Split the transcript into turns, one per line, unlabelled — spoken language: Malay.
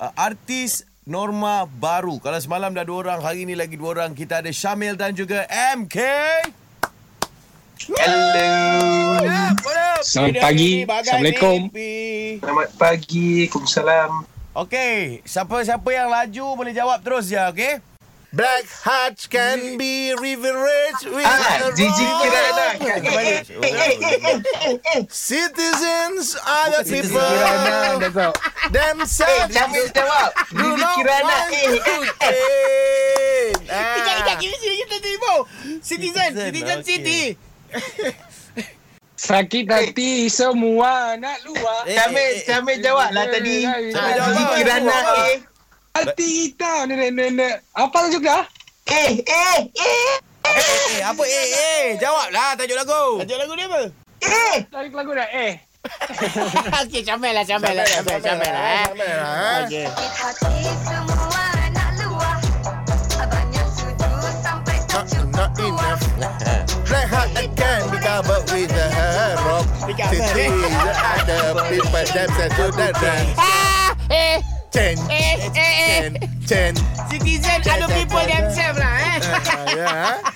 uh, artis norma baru. Kalau semalam dah dua orang, hari ini lagi dua orang. Kita ada Syamil dan juga MK.
Hello.
What up, what up?
Selamat
Video
pagi.
ini bagai
Assalamualaikum.
mimpi.
Selamat pagi. Waalaikumsalam.
Okey, siapa-siapa yang laju boleh jawab terus je, okey? Black hearts can be reverenced with
Ah, Gigi Kirana.
Citizens are the people
Eh,
themselves
Syamil Eh, jawab.
do
Gigi
not
Kirana.
want to
Eh,
change.
Kejap, kejap.
Ah.
Kita sini kita tipu. Citizen.
Citizen,
Citizen
okey.
City.
Sakit hati semua nak luar.
Eh,
Syamil,
eh, eh.
Syamil jawab lah tadi.
Syamil
jawab.
Gigi Kirana.
Jawab.
Eh,
Hati kita nenek-nenek. Apa tajuk dah?
eh, eh, eh.
Eh, apa eh eh jawablah tajuk lagu.
Tajuk lagu dia apa?
Tajuk lagu dah eh.
Okey, Syamil lah, Syamil lah, Syamil, Syamil lah. eh.
Syamil lah, eh.
Okey.
Hati semua nak luah Abangnya sujud sampai tak
Not,
cukup
not
kuah
enough. Black heart that can be covered with a hair of
Dekat apa, eh?
Citizens are the people themselves do not want
Ah, eh,
change.
eh, eh, eh.
Change, change.
Citizen other people themselves lah eh.
Ah, ya, eh.